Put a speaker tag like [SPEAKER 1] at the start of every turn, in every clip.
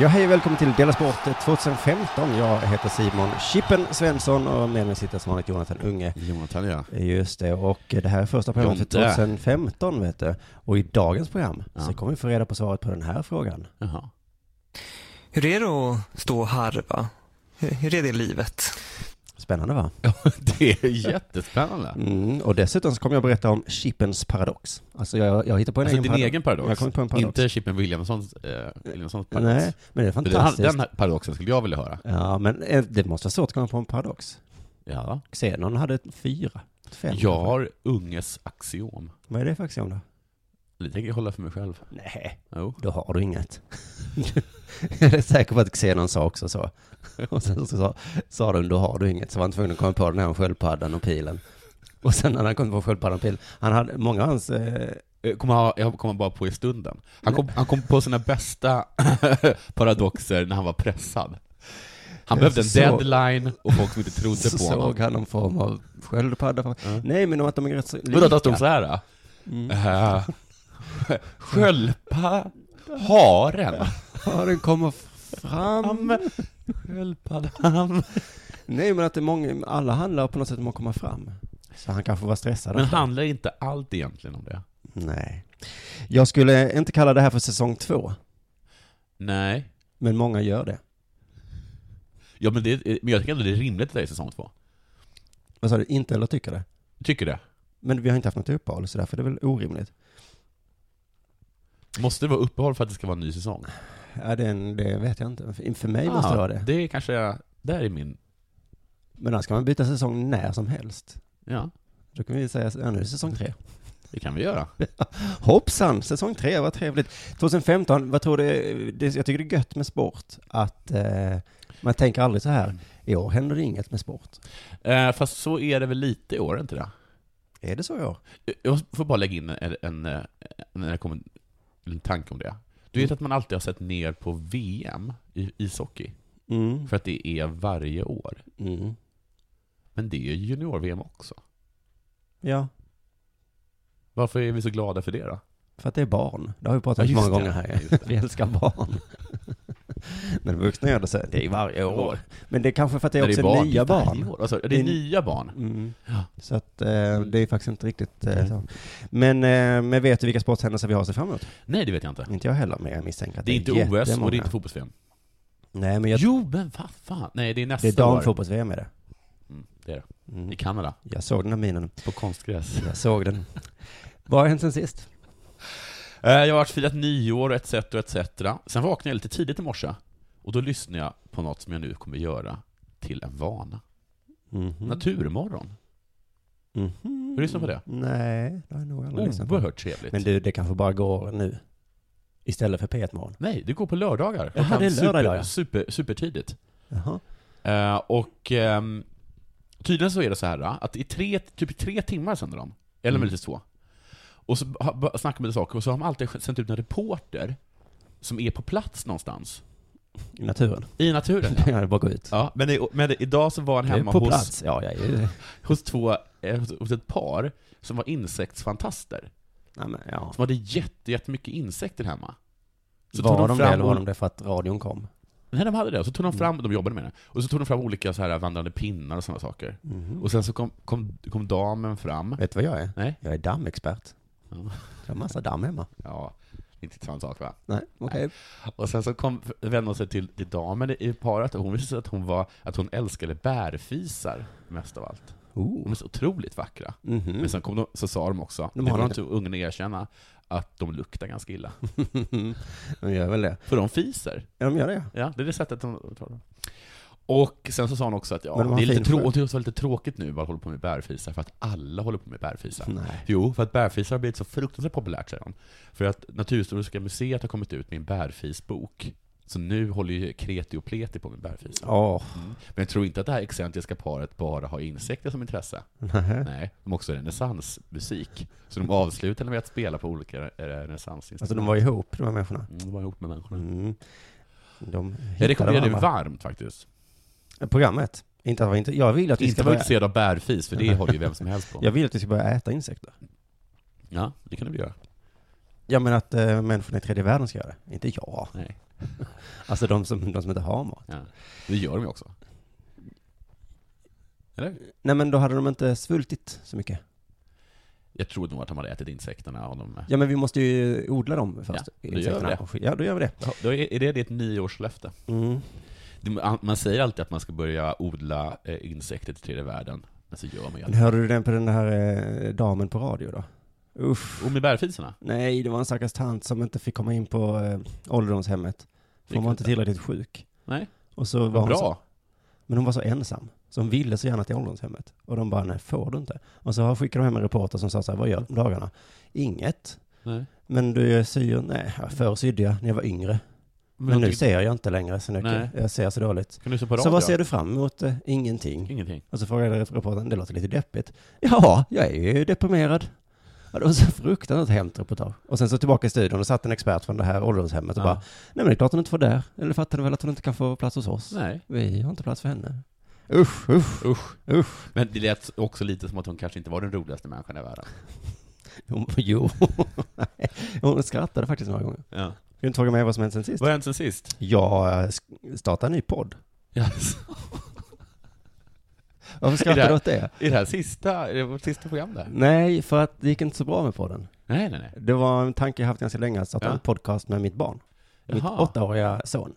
[SPEAKER 1] Ja, hej och välkommen till Dela Sport 2015. Jag heter Simon Chippen Svensson och med mig sitter som vanligt Jonathan Unge.
[SPEAKER 2] Jonathan ja.
[SPEAKER 1] Just det, och det här är första programmet för
[SPEAKER 2] Jonte.
[SPEAKER 1] 2015 vet du. Och i dagens program så
[SPEAKER 2] Ja.
[SPEAKER 1] kommer vi få reda på svaret på den här frågan.
[SPEAKER 2] Jaha.
[SPEAKER 3] Hur är det att stå och harva? Hur, hur är det livet?
[SPEAKER 1] Spännande va?
[SPEAKER 2] Det är jättespännande.
[SPEAKER 1] Mm, och dessutom så kommer jag berätta om Chippens paradox. Alltså jag, jag hittar på en
[SPEAKER 2] Alltså
[SPEAKER 1] egen
[SPEAKER 2] din
[SPEAKER 1] parado-
[SPEAKER 2] egen paradox.
[SPEAKER 1] Jag kommer på en paradox.
[SPEAKER 2] Inte Chippen Williamsons, eh, Williamsons paradox.
[SPEAKER 1] Nej, men det är
[SPEAKER 2] För Den,
[SPEAKER 1] fantastiskt.
[SPEAKER 2] den här paradoxen skulle jag vilja höra.
[SPEAKER 1] Ja, men eh, det måste vara svårt att komma på en paradox.
[SPEAKER 2] Ja.
[SPEAKER 1] Xenon hade ett fyra, ett fem.
[SPEAKER 2] Jag har unges axiom.
[SPEAKER 1] Vad är det för axiom då?
[SPEAKER 2] Det tänker jag hålla för mig själv.
[SPEAKER 1] Nej.
[SPEAKER 2] Jo.
[SPEAKER 1] då har du inget. Jag är säker på att Xenon sa också så. Och sen så sa, sa de, då har du inget. Så var han tvungen att komma på den här om sköldpaddan och pilen. Och sen när han kom på sköldpaddan och pilen, han hade, många av hans, eh,
[SPEAKER 2] Jag kommer, ha, jag kommer bara på i stunden. Han kom, han kom på sina bästa paradoxer när han var pressad.
[SPEAKER 1] Jag
[SPEAKER 2] Han behövde en
[SPEAKER 1] så-
[SPEAKER 2] deadline och folk som inte trodde
[SPEAKER 1] så
[SPEAKER 2] på honom.
[SPEAKER 1] såg han någon form av sköldpadda. Nej, men om att de är rätt så Mm.
[SPEAKER 2] Vadå, att han stod så här? då? Eh, Sköldpadda, haren,
[SPEAKER 1] Ja, den kommer fram.
[SPEAKER 2] sköldpaddan.
[SPEAKER 1] Nej, men att det är många, alla handlar på något sätt om att komma fram. Så han kanske var stressad.
[SPEAKER 2] Men
[SPEAKER 1] ofta.
[SPEAKER 2] handlar inte allt egentligen om det?
[SPEAKER 1] Nej. Jag skulle inte kalla det här för säsong två,
[SPEAKER 2] Nej.
[SPEAKER 1] men många gör det.
[SPEAKER 2] Ja, men, det, eh, men jag tycker ändå det är rimligt att det är säsong två.
[SPEAKER 1] Vad sa du? Inte eller tycker det?
[SPEAKER 2] Tycker det.
[SPEAKER 1] Men vi har inte haft något uppehåll, så därför är det väl orimligt.
[SPEAKER 2] Måste det vara uppehåll för att det ska vara en ny säsong?
[SPEAKER 1] Ja, det, är en- det vet jag inte. För- För mig måste det vara det.
[SPEAKER 2] Det är kanske, där är min,
[SPEAKER 1] Men annars kan man byta säsong när som helst.
[SPEAKER 2] ja,
[SPEAKER 1] Då kan vi säga, ja nu är det säsong tre.
[SPEAKER 2] det kan vi göra.
[SPEAKER 1] Hoppsan, säsong tre, vad trevligt. 2015, vad tror du, det, jag tycker det är gött med sport, att eh, man tänker aldrig så här, i år händer det inget med sport.
[SPEAKER 2] Eh, fast så är det väl lite i år, är det inte det?
[SPEAKER 1] Är det så i år?
[SPEAKER 2] Jag måste- får bara lägga in en, en, eh, en, en, kom- en tanke om det. Du vet att man alltid har sett ner på VM i ishockey,
[SPEAKER 1] Mm.
[SPEAKER 2] för att det är varje år.
[SPEAKER 1] mm.
[SPEAKER 2] Men det är ju junior-VM också.
[SPEAKER 1] Ja,
[SPEAKER 2] Varför är vi så glada för det då?
[SPEAKER 1] för att det är barn. Det har vi pratat om
[SPEAKER 2] Ja, just
[SPEAKER 1] många
[SPEAKER 2] det.
[SPEAKER 1] gånger här.
[SPEAKER 2] Just det.
[SPEAKER 1] Vi älskar barn. När vuxna gör det så, det är varje år. Men det är kanske för att det är
[SPEAKER 2] När
[SPEAKER 1] också
[SPEAKER 2] barn,
[SPEAKER 1] nya
[SPEAKER 2] varje
[SPEAKER 1] barn.
[SPEAKER 2] år. Alltså, det är
[SPEAKER 1] Det är-
[SPEAKER 2] nya barn.
[SPEAKER 1] Mm.
[SPEAKER 2] Ja.
[SPEAKER 1] Så att eh, det är faktiskt inte riktigt eh, så. Men, eh, men vet du vilka sporthändelser vi har att se fram emot?
[SPEAKER 2] Nej, det vet jag inte.
[SPEAKER 1] Inte jag heller, men jag misstänker att
[SPEAKER 2] Det är inte OS och det är inte fotbolls
[SPEAKER 1] Nej, men jag,
[SPEAKER 2] Jo, men vad fan. Nej, det är nästa
[SPEAKER 1] det är
[SPEAKER 2] år.
[SPEAKER 1] damfotbolls-VM är det.
[SPEAKER 2] Mm, det är det.
[SPEAKER 1] Mm.
[SPEAKER 2] I Kanada.
[SPEAKER 1] Jag såg den här minen.
[SPEAKER 2] På konstgräs.
[SPEAKER 1] Jag såg den. Vad har hänt sen sist?
[SPEAKER 2] Eh, Jag har varit firat nyår etc, etc. Sen vaknade jag lite tidigt i morse. Och då lyssnade jag på något som jag nu kommer göra till en vana.
[SPEAKER 1] Mhm.
[SPEAKER 2] Naturmorgon.
[SPEAKER 1] Mhm.
[SPEAKER 2] Har du lyssnat på det?
[SPEAKER 1] Nej, det har jag nog aldrig lyssnat på.
[SPEAKER 2] Oerhört trevligt.
[SPEAKER 1] Mm. Men du, det kanske bara går nu. Istället för P1 Morgon.
[SPEAKER 2] Nej, det går på lördagar.
[SPEAKER 1] Jaha,
[SPEAKER 2] Klockan
[SPEAKER 1] det är lördag idag,
[SPEAKER 2] super,
[SPEAKER 1] ja.
[SPEAKER 2] super, supertidigt.
[SPEAKER 1] Jaha.
[SPEAKER 2] Eh, Och ehm, tydligen så är det så här att i tre, typ tre timmar sänder de. Eller
[SPEAKER 1] Mm.
[SPEAKER 2] möjligtvis två. Och så ha- ba- snackar man lite saker och så har de alltid sänt ut en reporter som är på plats någonstans.
[SPEAKER 1] I naturen.
[SPEAKER 2] I naturen. ja.
[SPEAKER 1] Ja, det bara gå ut.
[SPEAKER 2] Ja, men, i, men idag så var han
[SPEAKER 1] Jag är
[SPEAKER 2] hemma
[SPEAKER 1] på
[SPEAKER 2] hos,
[SPEAKER 1] plats. Ja, jag är ju...
[SPEAKER 2] hos, två, eh, hos- hos ett par som var insektsfantaster.
[SPEAKER 1] Nej, men, ja.
[SPEAKER 2] Som hade jätte, jättemycket insekter hemma.
[SPEAKER 1] var de det eller var
[SPEAKER 2] och-
[SPEAKER 1] de Mm. det för att radion kom?
[SPEAKER 2] Nej, de hade det. Och så tog de fram, de jobbade med det, och så tog de fram olika så här vandrande pinnar och sådana saker. Och sen så kom, kom, kom damen fram.
[SPEAKER 1] Vet du vad jag är?
[SPEAKER 2] Nej?
[SPEAKER 1] Jag är dammexpert.
[SPEAKER 2] Ja.
[SPEAKER 1] Jag har massa damm hemma.
[SPEAKER 2] Ja, inte samma sak va?
[SPEAKER 1] Nej, okej.
[SPEAKER 2] Och sen så kom, vände hon sig till, till damen i paret, och hon visade att hon, var, att hon älskade bärfisar mest av allt. De
[SPEAKER 1] Oh.
[SPEAKER 2] är så otroligt vackra.
[SPEAKER 1] Mhm.
[SPEAKER 2] Men sen kom de, så sa de också,
[SPEAKER 1] De
[SPEAKER 2] det
[SPEAKER 1] har typ-
[SPEAKER 2] får de
[SPEAKER 1] inte-
[SPEAKER 2] inte ungarna erkänna, att de luktar ganska illa.
[SPEAKER 1] De gör väl det.
[SPEAKER 2] För de fiser.
[SPEAKER 1] Ja, de gör det.
[SPEAKER 2] Ja, det är det sättet de tar dem. Och sen så sa hon också att ja,
[SPEAKER 1] Men de har
[SPEAKER 2] det är
[SPEAKER 1] fin
[SPEAKER 2] lite, trå-
[SPEAKER 1] skörd.
[SPEAKER 2] hon tyckte också det var lite tråkigt nu att hålla på med bärfisar, för att alla håller på med bärfisar.
[SPEAKER 1] Nej.
[SPEAKER 2] Jo, för att bärfisar har blivit så fruktansvärt populärt, säger hon. För att Naturhistoriska museet har kommit ut med en bärfisbok. Så nu håller ju kreti och pleti på med bärfisen.
[SPEAKER 1] Ja,
[SPEAKER 2] Mm. Men jag tror inte att det här excentriska paret bara har insekter som intresse.
[SPEAKER 1] nähä.
[SPEAKER 2] Nej, de har också renässansmusik. Så de avslutade med att spela på olika re- renässansinstrument.
[SPEAKER 1] Alltså de var ihop, de här människorna.
[SPEAKER 2] Mm, de var ihop med människorna.
[SPEAKER 1] Mm. De hittade
[SPEAKER 2] Jag rekommenderar det
[SPEAKER 1] varandra.
[SPEAKER 2] varmt faktiskt.
[SPEAKER 1] Programmet. Inte att vara inte, jag vill att vi
[SPEAKER 2] Inte
[SPEAKER 1] ska
[SPEAKER 2] vara
[SPEAKER 1] börja,
[SPEAKER 2] intresserad av bärfis, för det håller ju vem som helst på.
[SPEAKER 1] jag vill att vi ska börja äta insekter.
[SPEAKER 2] Ja, det kan du göra.
[SPEAKER 1] Ja men att eh, människorna i tredje världen ska göra det. Inte jag.
[SPEAKER 2] Nej.
[SPEAKER 1] Alltså de som, de som inte har mat.
[SPEAKER 2] Ja. Det gör de ju också. Eller?
[SPEAKER 1] Nej men då hade de inte svultit så mycket.
[SPEAKER 2] Jag tror nog att de hade ätit insekterna av dem.
[SPEAKER 1] Ja men vi måste ju odla dem först.
[SPEAKER 2] Ja, då gör vi det.
[SPEAKER 1] och skit. Ja då gör vi det.
[SPEAKER 2] Ja, Då är är det ditt nioårslöfte?
[SPEAKER 1] Mm.
[SPEAKER 2] Det- Man säger alltid att man ska börja odla eh, insekter till tredje världen, men så gör man ju
[SPEAKER 1] Men
[SPEAKER 2] aldrig.
[SPEAKER 1] Hörde du den på den här eh, damen på radio då? Uff.
[SPEAKER 2] Och med bärfiserna?
[SPEAKER 1] Nej, det var en stackars tant som inte fick komma in på eh, ålderdomshemmet. För hon var inte tillräckligt sjuk.
[SPEAKER 2] Nej,
[SPEAKER 1] Och så var
[SPEAKER 2] vad
[SPEAKER 1] hon så,
[SPEAKER 2] bra.
[SPEAKER 1] men hon var så ensam. Så hon ville så gärna till ålderdomshemmet. Och de bara, nej får du inte. Och så skickade de hem en reporter som sa så här, vad gör du om dagarna? Inget.
[SPEAKER 2] Nej.
[SPEAKER 1] Men du syr, nej, förr sydde jag när jag var yngre. Men,
[SPEAKER 2] jag
[SPEAKER 1] nu
[SPEAKER 2] tycker-
[SPEAKER 1] ser jag inte längre så mycket.
[SPEAKER 2] Nej.
[SPEAKER 1] Jag ser så dåligt.
[SPEAKER 2] Kan du lyssna på radio?
[SPEAKER 1] Så vad ser du fram emot? Eh, Ingenting.
[SPEAKER 2] Ingenting.
[SPEAKER 1] Och så frågade reportern, det låter lite deppigt. Ja, jag är ju deprimerad. Ja, det var så fruktansvärt hemskt reportage. Och sen så tillbaka i studion och satt en expert från det här ålderdomshemmet och bara,
[SPEAKER 2] Ja.
[SPEAKER 1] nej men det är klart hon inte får där. Eller fattar du väl att hon inte kan få plats hos oss?
[SPEAKER 2] Nej.
[SPEAKER 1] Vi har inte plats för henne. Usch, usch.
[SPEAKER 2] Usch.
[SPEAKER 1] Usch.
[SPEAKER 2] Men det lät också lite som att hon kanske inte var den roligaste människan i världen.
[SPEAKER 1] Hon, jo, Nej. hon skrattade faktiskt några gånger.
[SPEAKER 2] Ja.
[SPEAKER 1] Jag har inte frågat mig vad som hänt sen sist.
[SPEAKER 2] Vad har hänt sen sist?
[SPEAKER 1] Jag eh, sk- startar en ny podd.
[SPEAKER 2] Yes.
[SPEAKER 1] Varför
[SPEAKER 2] Är
[SPEAKER 1] skrattar
[SPEAKER 2] det-
[SPEAKER 1] du åt det?
[SPEAKER 2] Är det här sista, är det vårt sista program där?
[SPEAKER 1] Nej, för att det gick inte så bra med podden.
[SPEAKER 2] Nej, nej, nej.
[SPEAKER 1] Det var en tanke jag haft ganska länge, att starta
[SPEAKER 2] Ja.
[SPEAKER 1] en podcast med mitt barn. Mitt
[SPEAKER 2] Jaha.
[SPEAKER 1] åttaåriga son.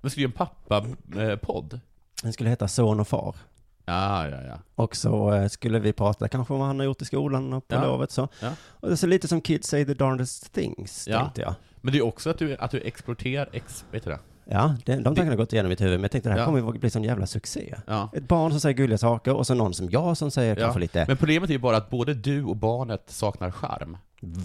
[SPEAKER 2] Men skulle ju en pappa-podd?
[SPEAKER 1] Den skulle heta Son och far.
[SPEAKER 2] Ja, ja, ja.
[SPEAKER 1] Och så eh, skulle vi prata kanske om vad han har gjort i skolan och på
[SPEAKER 2] Ja.
[SPEAKER 1] lovet så.
[SPEAKER 2] Ja.
[SPEAKER 1] Och det är så lite som Kids say the darndest things,
[SPEAKER 2] Ja.
[SPEAKER 1] tänkte jag.
[SPEAKER 2] Men det är ju också att du, att du exporterar, ex, vet du det?
[SPEAKER 1] Ja, det, de tankarna har gått igenom mitt huvud, men jag tänkte det här
[SPEAKER 2] Ja.
[SPEAKER 1] kommer ju bli sån jävla succé.
[SPEAKER 2] Ja.
[SPEAKER 1] Ett barn som säger gulliga saker och så någon som jag som säger kanske lite...
[SPEAKER 2] Men problemet är ju bara att både du och barnet saknar charm.
[SPEAKER 1] Mm.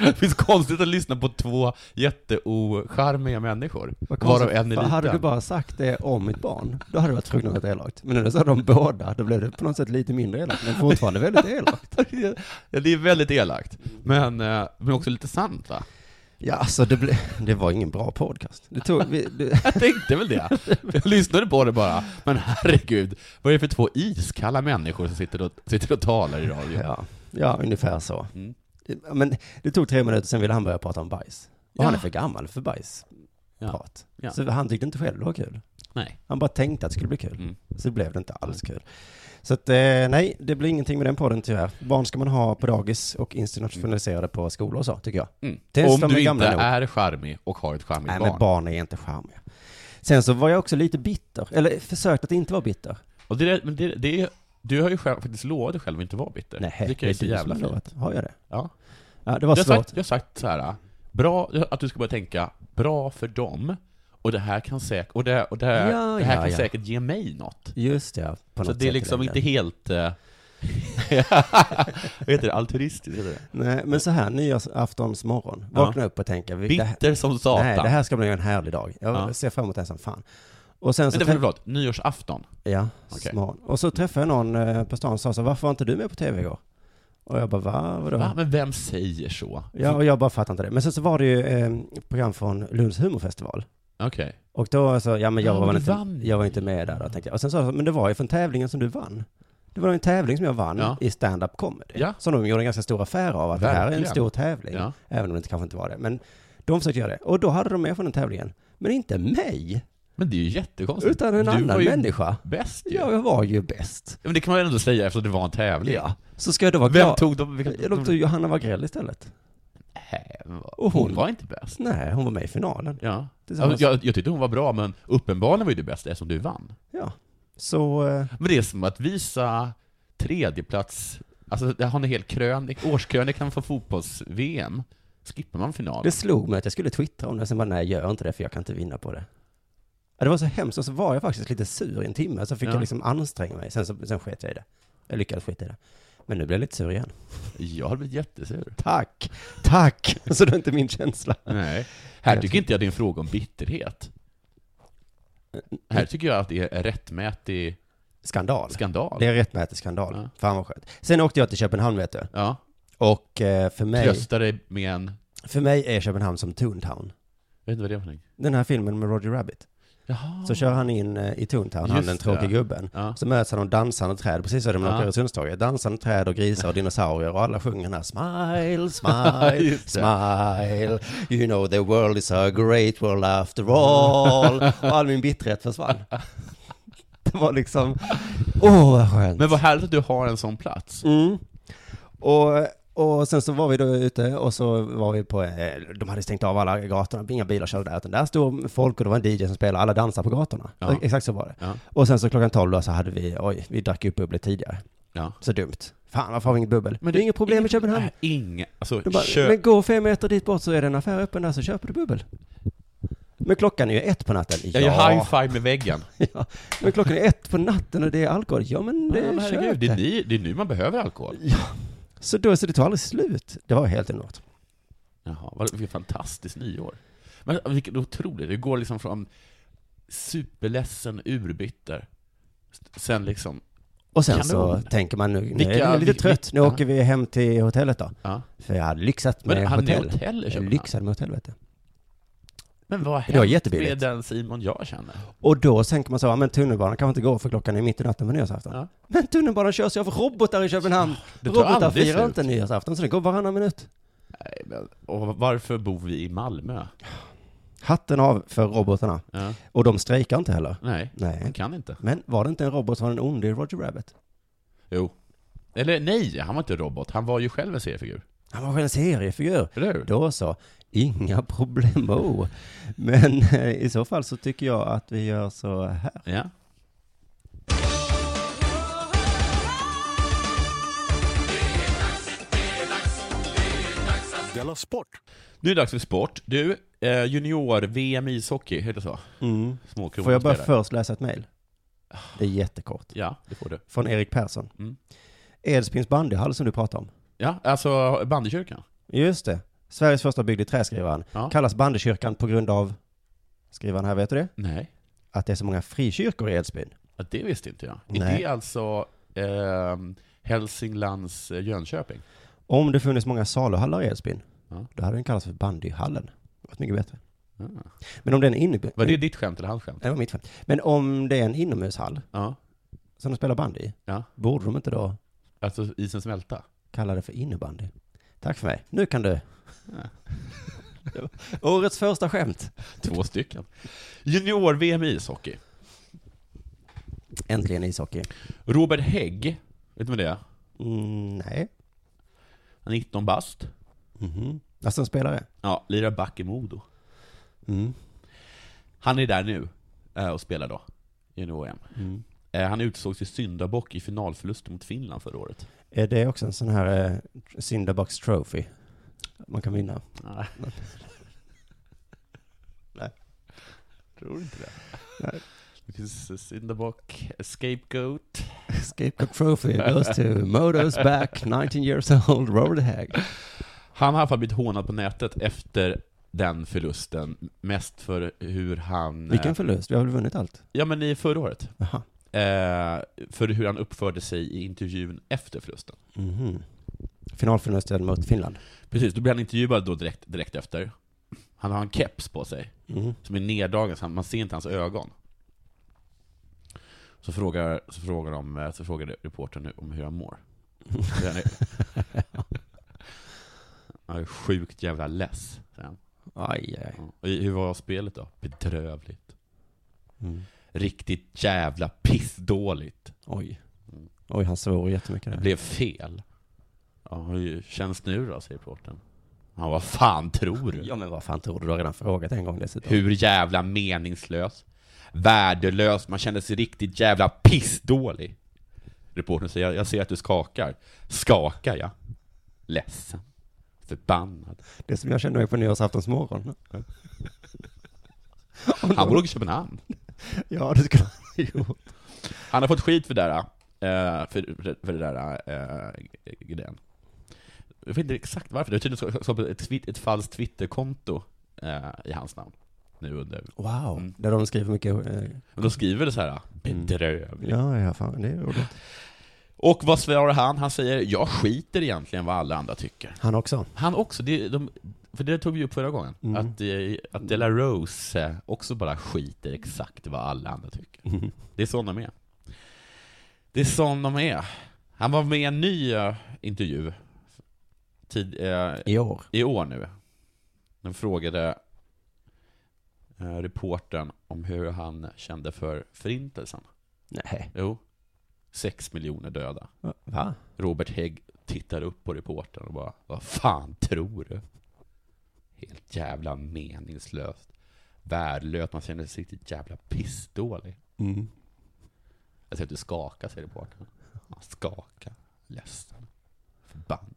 [SPEAKER 2] Det finns konstigt att lyssna på två jätteocharmiga människor,
[SPEAKER 1] Vad konstigt,
[SPEAKER 2] varav en är
[SPEAKER 1] för
[SPEAKER 2] liten.
[SPEAKER 1] Hade du bara sagt det om mitt barn, då hade det varit fruktansvärt elakt. Men när du sa de båda, då blev det på något sätt lite mindre elakt, men fortfarande väldigt elakt.
[SPEAKER 2] Ja, det är väldigt elakt, men, eh, men också lite sant va?
[SPEAKER 1] Ja, alltså det, ble, det var ingen bra podcast. Det tog, vi, det,
[SPEAKER 2] Jag tänkte väl det. Jag lyssnade på det bara. Men herregud, vad är det för två iskalla människor som sitter och, sitter och talar i radio?
[SPEAKER 1] ja, ja, ungefär så.
[SPEAKER 2] Mm.
[SPEAKER 1] Men det tog tre minuter, sen ville han börja prata om bajs. Och
[SPEAKER 2] Ja.
[SPEAKER 1] han är för gammal för bajsprat.
[SPEAKER 2] Ja. Ja.
[SPEAKER 1] Så han tyckte inte själv det var kul.
[SPEAKER 2] Nej.
[SPEAKER 1] Han bara tänkte att det skulle bli kul.
[SPEAKER 2] Mm.
[SPEAKER 1] Så blev det inte alls kul. Så att, eh, nej, det blir ingenting med den podden tyvärr. Barn ska man ha på dagis och institutionaliserade på skolor och så, tycker jag.
[SPEAKER 2] Mm.
[SPEAKER 1] Tills de
[SPEAKER 2] Om
[SPEAKER 1] är
[SPEAKER 2] du inte
[SPEAKER 1] gamla nog.
[SPEAKER 2] är charmig och har ett charmigt
[SPEAKER 1] Nej, men
[SPEAKER 2] barn.
[SPEAKER 1] barn är inte charmiga. Sen så var jag också lite bitter, eller försökte att inte vara bitter.
[SPEAKER 2] Och det, är- men det, det, är- du har ju själv, faktiskt lovat dig själv att inte vara bitter.
[SPEAKER 1] Nej,
[SPEAKER 2] det tycker jag är så
[SPEAKER 1] du som
[SPEAKER 2] jävla
[SPEAKER 1] har
[SPEAKER 2] fint.
[SPEAKER 1] lovat. Har jag det?
[SPEAKER 2] Ja.
[SPEAKER 1] Ja, det var
[SPEAKER 2] Jag, har
[SPEAKER 1] svårt.
[SPEAKER 2] sagt, jag har sagt så här, bra, att du ska börja tänka, bra för dem, och det här kan säkert, och det, och det, här-
[SPEAKER 1] Ja,
[SPEAKER 2] det här
[SPEAKER 1] ja,
[SPEAKER 2] kan
[SPEAKER 1] ja.
[SPEAKER 2] säkert ge mig något.
[SPEAKER 1] Just det, ja, på
[SPEAKER 2] Så
[SPEAKER 1] något
[SPEAKER 2] det är
[SPEAKER 1] sätt i
[SPEAKER 2] liksom
[SPEAKER 1] längden.
[SPEAKER 2] inte helt... eh, Vad heter det? Altruistiskt? Heter det?
[SPEAKER 1] Nej, men så här, nyårsaftons morgon.
[SPEAKER 2] Ja.
[SPEAKER 1] Vakna upp och tänka, vi- det här,
[SPEAKER 2] Bitter som satan.
[SPEAKER 1] nej, det här ska bli en härlig dag. Jag
[SPEAKER 2] Ja.
[SPEAKER 1] ser fram emot den som fan. Och sen så...
[SPEAKER 2] Vänta,
[SPEAKER 1] trä-
[SPEAKER 2] förlåt. Nyårsafton.
[SPEAKER 1] Ja,
[SPEAKER 2] Okej.
[SPEAKER 1] smart. Och så träffade jag någon eh, på stan och sa så, varför var inte du med på tv igår? Och jag bara, va? Vadå?
[SPEAKER 2] Va? Men vem säger så?
[SPEAKER 1] Ja, och jag bara fattar inte det. Men sen så var det ju eh, program från Lunds humorfestival.
[SPEAKER 2] Okej.
[SPEAKER 1] Och då så, ja men jag
[SPEAKER 2] Ja,
[SPEAKER 1] var
[SPEAKER 2] men
[SPEAKER 1] väl inte,
[SPEAKER 2] du vann ju.
[SPEAKER 1] jag var inte med där då, tänkte jag. Och sen sa jag, men det var ju från tävlingen som du vann. Det var en tävling som jag vann
[SPEAKER 2] Ja.
[SPEAKER 1] i stand-up comedy.
[SPEAKER 2] Ja.
[SPEAKER 1] Som de gjorde en ganska stor affär av, att det här är en
[SPEAKER 2] Verkligen.
[SPEAKER 1] stor tävling.
[SPEAKER 2] Ja.
[SPEAKER 1] Även om det kanske inte var det. Men de försökte göra det. Och då hade de med från den tävlingen. Men inte mig,
[SPEAKER 2] Men det är ju jättekonstigt.
[SPEAKER 1] utan en
[SPEAKER 2] du var
[SPEAKER 1] annan
[SPEAKER 2] ju
[SPEAKER 1] människa.
[SPEAKER 2] Bäst ju.
[SPEAKER 1] Ja, jag var ju bäst.
[SPEAKER 2] Men det kan man ju ändå säga eftersom det var en tävling.
[SPEAKER 1] Ja. Så ska jag då vara
[SPEAKER 2] Vem
[SPEAKER 1] glad.
[SPEAKER 2] tog de? Vilka,
[SPEAKER 1] Ja, De tog Johanna Wagrell istället.
[SPEAKER 2] Nej, men vad-
[SPEAKER 1] Och
[SPEAKER 2] Äh, hon,
[SPEAKER 1] hon-
[SPEAKER 2] var inte bäst.
[SPEAKER 1] Nej, hon var med i finalen.
[SPEAKER 2] Ja.
[SPEAKER 1] Tillsammans-
[SPEAKER 2] Alltså, Jag, jag tyckte hon var bra, men uppenbarligen var ju det bästa eftersom du vann.
[SPEAKER 1] Ja. Så, eh,
[SPEAKER 2] Men det är som att visa tredjeplats, alltså där har ni helt krönik, årskrönikan för fotbolls-VM, skippar man finalen.
[SPEAKER 1] Det slog mig att jag skulle twittra om det, sen bara nej, gör inte det för jag kan inte vinna på det. Ja, det var så hemskt, och så var jag faktiskt lite sur i en timme, så fick
[SPEAKER 2] Ja.
[SPEAKER 1] jag liksom anstränga mig, sen, så, sen sket jag i det. Jag lyckades skita i det. Men nu blir jag lite sur igen.
[SPEAKER 2] Jag hade blivit jättesur.
[SPEAKER 1] Tack! Tack! Så det är inte min känsla.
[SPEAKER 2] Nej. Här tycker inte jag det är en fråga om bitterhet. Här tycker jag att det är en rättmätig
[SPEAKER 1] Skandal.
[SPEAKER 2] skandal.
[SPEAKER 1] Det är rättmätig skandal.
[SPEAKER 2] Ja.
[SPEAKER 1] Fan vad skönt. Sen åkte jag till Köpenhamn vet du.
[SPEAKER 2] Ja,
[SPEAKER 1] Och eh, för mig,
[SPEAKER 2] trösta dig med en...
[SPEAKER 1] för mig är Köpenhamn som Toontown.
[SPEAKER 2] Jag vet inte vad det är för någonting.
[SPEAKER 1] Den här filmen med Roger Rabbit.
[SPEAKER 2] Jaha.
[SPEAKER 1] Så kör han in eh, i Toontown, han
[SPEAKER 2] Just
[SPEAKER 1] den tråkiga
[SPEAKER 2] det.
[SPEAKER 1] gubben.
[SPEAKER 2] Ja.
[SPEAKER 1] Så möts han av dansande träd, precis som det man
[SPEAKER 2] Ja.
[SPEAKER 1] åker Öresundståget. Dansande träd och grisar och dinosaurier och alla sjunger den här smile, smile,
[SPEAKER 2] Just det.
[SPEAKER 1] smile. You know the world is a great world after all. Och all min bitterhet försvann. Det var liksom, åh vad skönt.
[SPEAKER 2] Men vad härligt att du har en sån plats.
[SPEAKER 1] Mm. Och, och sen så var vi då ute och så var vi på, eh, de hade stängt av alla gatorna, inga bilar körde där, utan där stod folk och det var en DJ som spelade, alla dansade på gatorna.
[SPEAKER 2] Ja.
[SPEAKER 1] Exakt så var det.
[SPEAKER 2] Ja.
[SPEAKER 1] Och sen så klockan tolv då så hade vi, oj, vi drack upp bubblet tidigare.
[SPEAKER 2] Ja.
[SPEAKER 1] Så dumt. Fan, varför har vi inget bubbel? Men det är inget problem i Köpenhamn.
[SPEAKER 2] Nej, Inga, alltså,
[SPEAKER 1] De bara,
[SPEAKER 2] kö...
[SPEAKER 1] men gå fem meter dit bort så är det en affär öppen där så köper du bubbel. Men klockan är ju ett på natten.
[SPEAKER 2] Jag gör high five med väggen.
[SPEAKER 1] ja. Men klockan är ett på natten och det är alkohol. Ja men det
[SPEAKER 2] Ja, men
[SPEAKER 1] köp
[SPEAKER 2] herregud, det, är ni, det är nu man behöver alkohol.
[SPEAKER 1] Så då, så det tog aldrig slut. Det var helt enormt.
[SPEAKER 2] Jaha, vad- vilket fantastiskt nyår. Men vilket otroligt, det går liksom från superledsen, urbitter, sen liksom,
[SPEAKER 1] Och sen
[SPEAKER 2] Kanon.
[SPEAKER 1] så tänker man nu, nu
[SPEAKER 2] Vilka-
[SPEAKER 1] är jag lite
[SPEAKER 2] vil-
[SPEAKER 1] trött, nu
[SPEAKER 2] ja.
[SPEAKER 1] åker vi hem till hotellet då.
[SPEAKER 2] ja.
[SPEAKER 1] För jag hade lyxat med
[SPEAKER 2] Men han hotell.
[SPEAKER 1] hotell.
[SPEAKER 2] är hotell i
[SPEAKER 1] Jag
[SPEAKER 2] Köpenhamn.
[SPEAKER 1] lyxade med hotell vet du.
[SPEAKER 2] Men vad
[SPEAKER 1] Det var
[SPEAKER 2] hände
[SPEAKER 1] jättebilligt.
[SPEAKER 2] med den Simon jag känner?
[SPEAKER 1] Och då tänker man så, ja men tunnelbanan kanske inte går för klockan är mitt i natten på nyårsafton.
[SPEAKER 2] Ja.
[SPEAKER 1] Men tunnelbanan körs ju av robotar i Köpenhamn.
[SPEAKER 2] det tar
[SPEAKER 1] robotar
[SPEAKER 2] aldrig
[SPEAKER 1] firar
[SPEAKER 2] slut.
[SPEAKER 1] inte nyårsafton så det går varannan minut.
[SPEAKER 2] Nej, men, och varför bor vi i Malmö?
[SPEAKER 1] Hatten av för robotarna.
[SPEAKER 2] Ja.
[SPEAKER 1] Och de strejkar inte heller.
[SPEAKER 2] Nej, man
[SPEAKER 1] Nej.
[SPEAKER 2] kan inte.
[SPEAKER 1] Men var det inte en robot som var den onde i Roger Rabbit?
[SPEAKER 2] Jo. Eller nej, han var inte robot, han var ju själv en seriefigur.
[SPEAKER 1] Han var väl en seriefigur?
[SPEAKER 2] Eller hur?
[SPEAKER 1] Då så, inga problem. oh. Men eh, i så fall så tycker jag att vi gör så här.
[SPEAKER 2] Ja.
[SPEAKER 4] Della Sport!
[SPEAKER 2] Nu är det dags för sport. Du, eh, junior-VM i ishockey, heter det så?
[SPEAKER 1] Mm.
[SPEAKER 2] Småkronor
[SPEAKER 1] Får jag bara
[SPEAKER 2] spelar.
[SPEAKER 1] först läsa ett mejl? Det är jättekort.
[SPEAKER 2] Ah. Ja, det får du.
[SPEAKER 1] Från Erik Persson.
[SPEAKER 2] Mm.
[SPEAKER 1] Edsbyns bandyhall som du pratade om.
[SPEAKER 2] Ja, alltså bandykyrkan.
[SPEAKER 1] Just det. Sveriges första byggd i trä, skriver han.
[SPEAKER 2] Ja.
[SPEAKER 1] Kallas bandykyrkan på grund av, skriver han här, vet du det?
[SPEAKER 2] Nej,
[SPEAKER 1] Att det är så många frikyrkor i Edsbyn.
[SPEAKER 2] ja, det visste inte jag.
[SPEAKER 1] Nej.
[SPEAKER 2] Är det alltså ehm, Hälsinglands eh, Jönköping?
[SPEAKER 1] Om det funnits många saluhallar i Edsbyn,
[SPEAKER 2] Ja.
[SPEAKER 1] då hade den kallats för bandyhallen. Det varit mycket bättre.
[SPEAKER 2] Ah.
[SPEAKER 1] Men om det är en inomhus...
[SPEAKER 2] Var det ditt skämt eller hans skämt?
[SPEAKER 1] det var mitt fel. Men om det är en inomhushall
[SPEAKER 2] Ja.
[SPEAKER 1] som de spelar bandy i,
[SPEAKER 2] Ja.
[SPEAKER 1] borde de inte då
[SPEAKER 2] Alltså isen smälta?
[SPEAKER 1] kalla det för innebandy? Tack för mig. Nu kan du.
[SPEAKER 2] Ja.
[SPEAKER 1] Årets första skämt.
[SPEAKER 2] Två stycken. Junior-VM i ishockey.
[SPEAKER 1] Äntligen ishockey.
[SPEAKER 2] Robert Hägg, vet du vad det är?
[SPEAKER 1] Mm, nej.
[SPEAKER 2] Han är 19 bast.
[SPEAKER 1] Mhm. Alltså en spelare?
[SPEAKER 2] Ja, lirar back i Modo.
[SPEAKER 1] Mm.
[SPEAKER 2] Han är där nu eh, och spelar då, junior-VM.
[SPEAKER 1] Mm.
[SPEAKER 2] Eh, Han utsågs till syndabock i finalförlusten mot Finland förra året.
[SPEAKER 1] Är det också en sån här eh, syndabox trophy? Man kan vinna. Nej.
[SPEAKER 2] Tror inte det.
[SPEAKER 1] Nej.
[SPEAKER 2] Det finns syndabock, scapegoat.
[SPEAKER 1] Scapegoat trophy goes to Modos back 19 years old Robert Hag.
[SPEAKER 2] Han har i alla fall blivit hånad på nätet efter den förlusten, mest för hur han...
[SPEAKER 1] Vilken
[SPEAKER 2] eh,
[SPEAKER 1] förlust, vi har väl vunnit allt?
[SPEAKER 2] Ja men i förra året.
[SPEAKER 1] Jaha.
[SPEAKER 2] Eh, för hur han uppförde sig i intervjun efter förlusten.
[SPEAKER 1] Mhm. Finalförlusten mot Finland.
[SPEAKER 2] Precis, då blev han intervjuad då direkt, direkt efter. Han har en keps på sig,
[SPEAKER 1] Mm.
[SPEAKER 2] som är neddragen, så han- man ser inte hans ögon. Så frågar, så frågar, de, eh, så frågar reportern nu om hur han mår. Så han är- Han är sjukt jävla less, säger han.
[SPEAKER 1] Aj, aj.
[SPEAKER 2] Ja. Och hur var spelet då? Bedrövligt.
[SPEAKER 1] Mm.
[SPEAKER 2] Riktigt jävla pissdåligt.
[SPEAKER 1] Oj. Oj, han svor jättemycket
[SPEAKER 2] Det
[SPEAKER 1] där.
[SPEAKER 2] blev fel. Ja, hur känns det nu då, säger reportern. Han vad fan tror du?
[SPEAKER 1] Ja men vad fan tror du? Du har redan frågat en gång dessutom.
[SPEAKER 2] Hur jävla meningslös. Värdelös, man kände sig riktigt jävla pissdålig. Reportern säger, jag ser att du skakar. Skakar jag? Ledsen. Förbannad.
[SPEAKER 1] Det som jag kände mig på nyårsaftonsmorgon. Om
[SPEAKER 2] Han
[SPEAKER 1] de-
[SPEAKER 2] bor i Köpenhamn.
[SPEAKER 1] Ja, det skulle han ha gjort.
[SPEAKER 2] Han har fått skit för det där, eh, för, för det där eh, grejen. Jag vet inte exakt varför, det har tydligen skapat ett, twi- ett falskt twitterkonto eh, i hans namn. Nu under...
[SPEAKER 1] Wow,
[SPEAKER 2] Mm.
[SPEAKER 1] där de skriver mycket. eh,
[SPEAKER 2] Men då skriver det så här, bedrövligt.
[SPEAKER 1] Ja, ja, fan, det är roligt.
[SPEAKER 2] Och vad svarar han? Han säger, jag skiter egentligen vad alla andra tycker.
[SPEAKER 1] Han också.
[SPEAKER 2] Han också, det, de, för det tog vi upp förra gången,
[SPEAKER 1] Mm.
[SPEAKER 2] att, eh, att De La Rose eh, också bara skiter exakt vad alla andra tycker.
[SPEAKER 1] Mm.
[SPEAKER 2] Det är sån de är. Det är sån de är. Han var med i en ny eh, intervju tid, eh,
[SPEAKER 1] I år.
[SPEAKER 2] i år nu. De frågade eh, reportern om hur han kände för förintelsen.
[SPEAKER 1] Nej.
[SPEAKER 2] Jo, sex miljoner döda.
[SPEAKER 1] Va?
[SPEAKER 2] Robert Hägg tittar upp på reportern och bara Vad fan tror du? Helt jävla meningslöst. Värdelöst. Man känner sig riktigt jävla pissdålig.
[SPEAKER 1] Mm.
[SPEAKER 2] Jag ser att du skakar, säger reportern. Han skakar. Ledsen. Förbannad.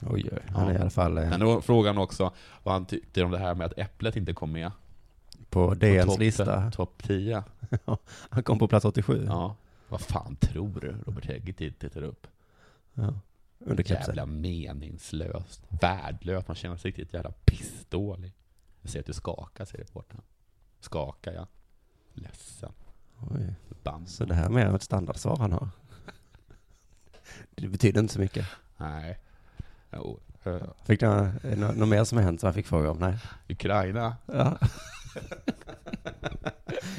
[SPEAKER 1] Oj, oj. Han är
[SPEAKER 2] Ja.
[SPEAKER 1] i alla fall eh,
[SPEAKER 2] Men då frågan också vad han tyckte om det här med att Äpplet inte kom med.
[SPEAKER 1] på
[SPEAKER 2] på
[SPEAKER 1] DNs
[SPEAKER 2] topp-
[SPEAKER 1] lista.
[SPEAKER 2] Topp 10.
[SPEAKER 1] Han kom på plats 87.
[SPEAKER 2] Ja. Vad fan tror du? Robert Hägg tittar upp.
[SPEAKER 1] Ja. Under kapseln.
[SPEAKER 2] Jävla meningslöst, värdelöst, man känner sig riktigt jävla pissdålig. Jag ser att du skakar, säger reportern. Skakar jag. Ledsen.
[SPEAKER 1] Oj.
[SPEAKER 2] Förbannad.
[SPEAKER 1] Så det här med ett standardsvar han har. Det betyder inte så mycket.
[SPEAKER 2] Nej. Jo. eh,
[SPEAKER 1] Fick du eh, nå- något mer som har hänt som han fick fråga om? Nej.
[SPEAKER 2] Ukraina.
[SPEAKER 1] Ja.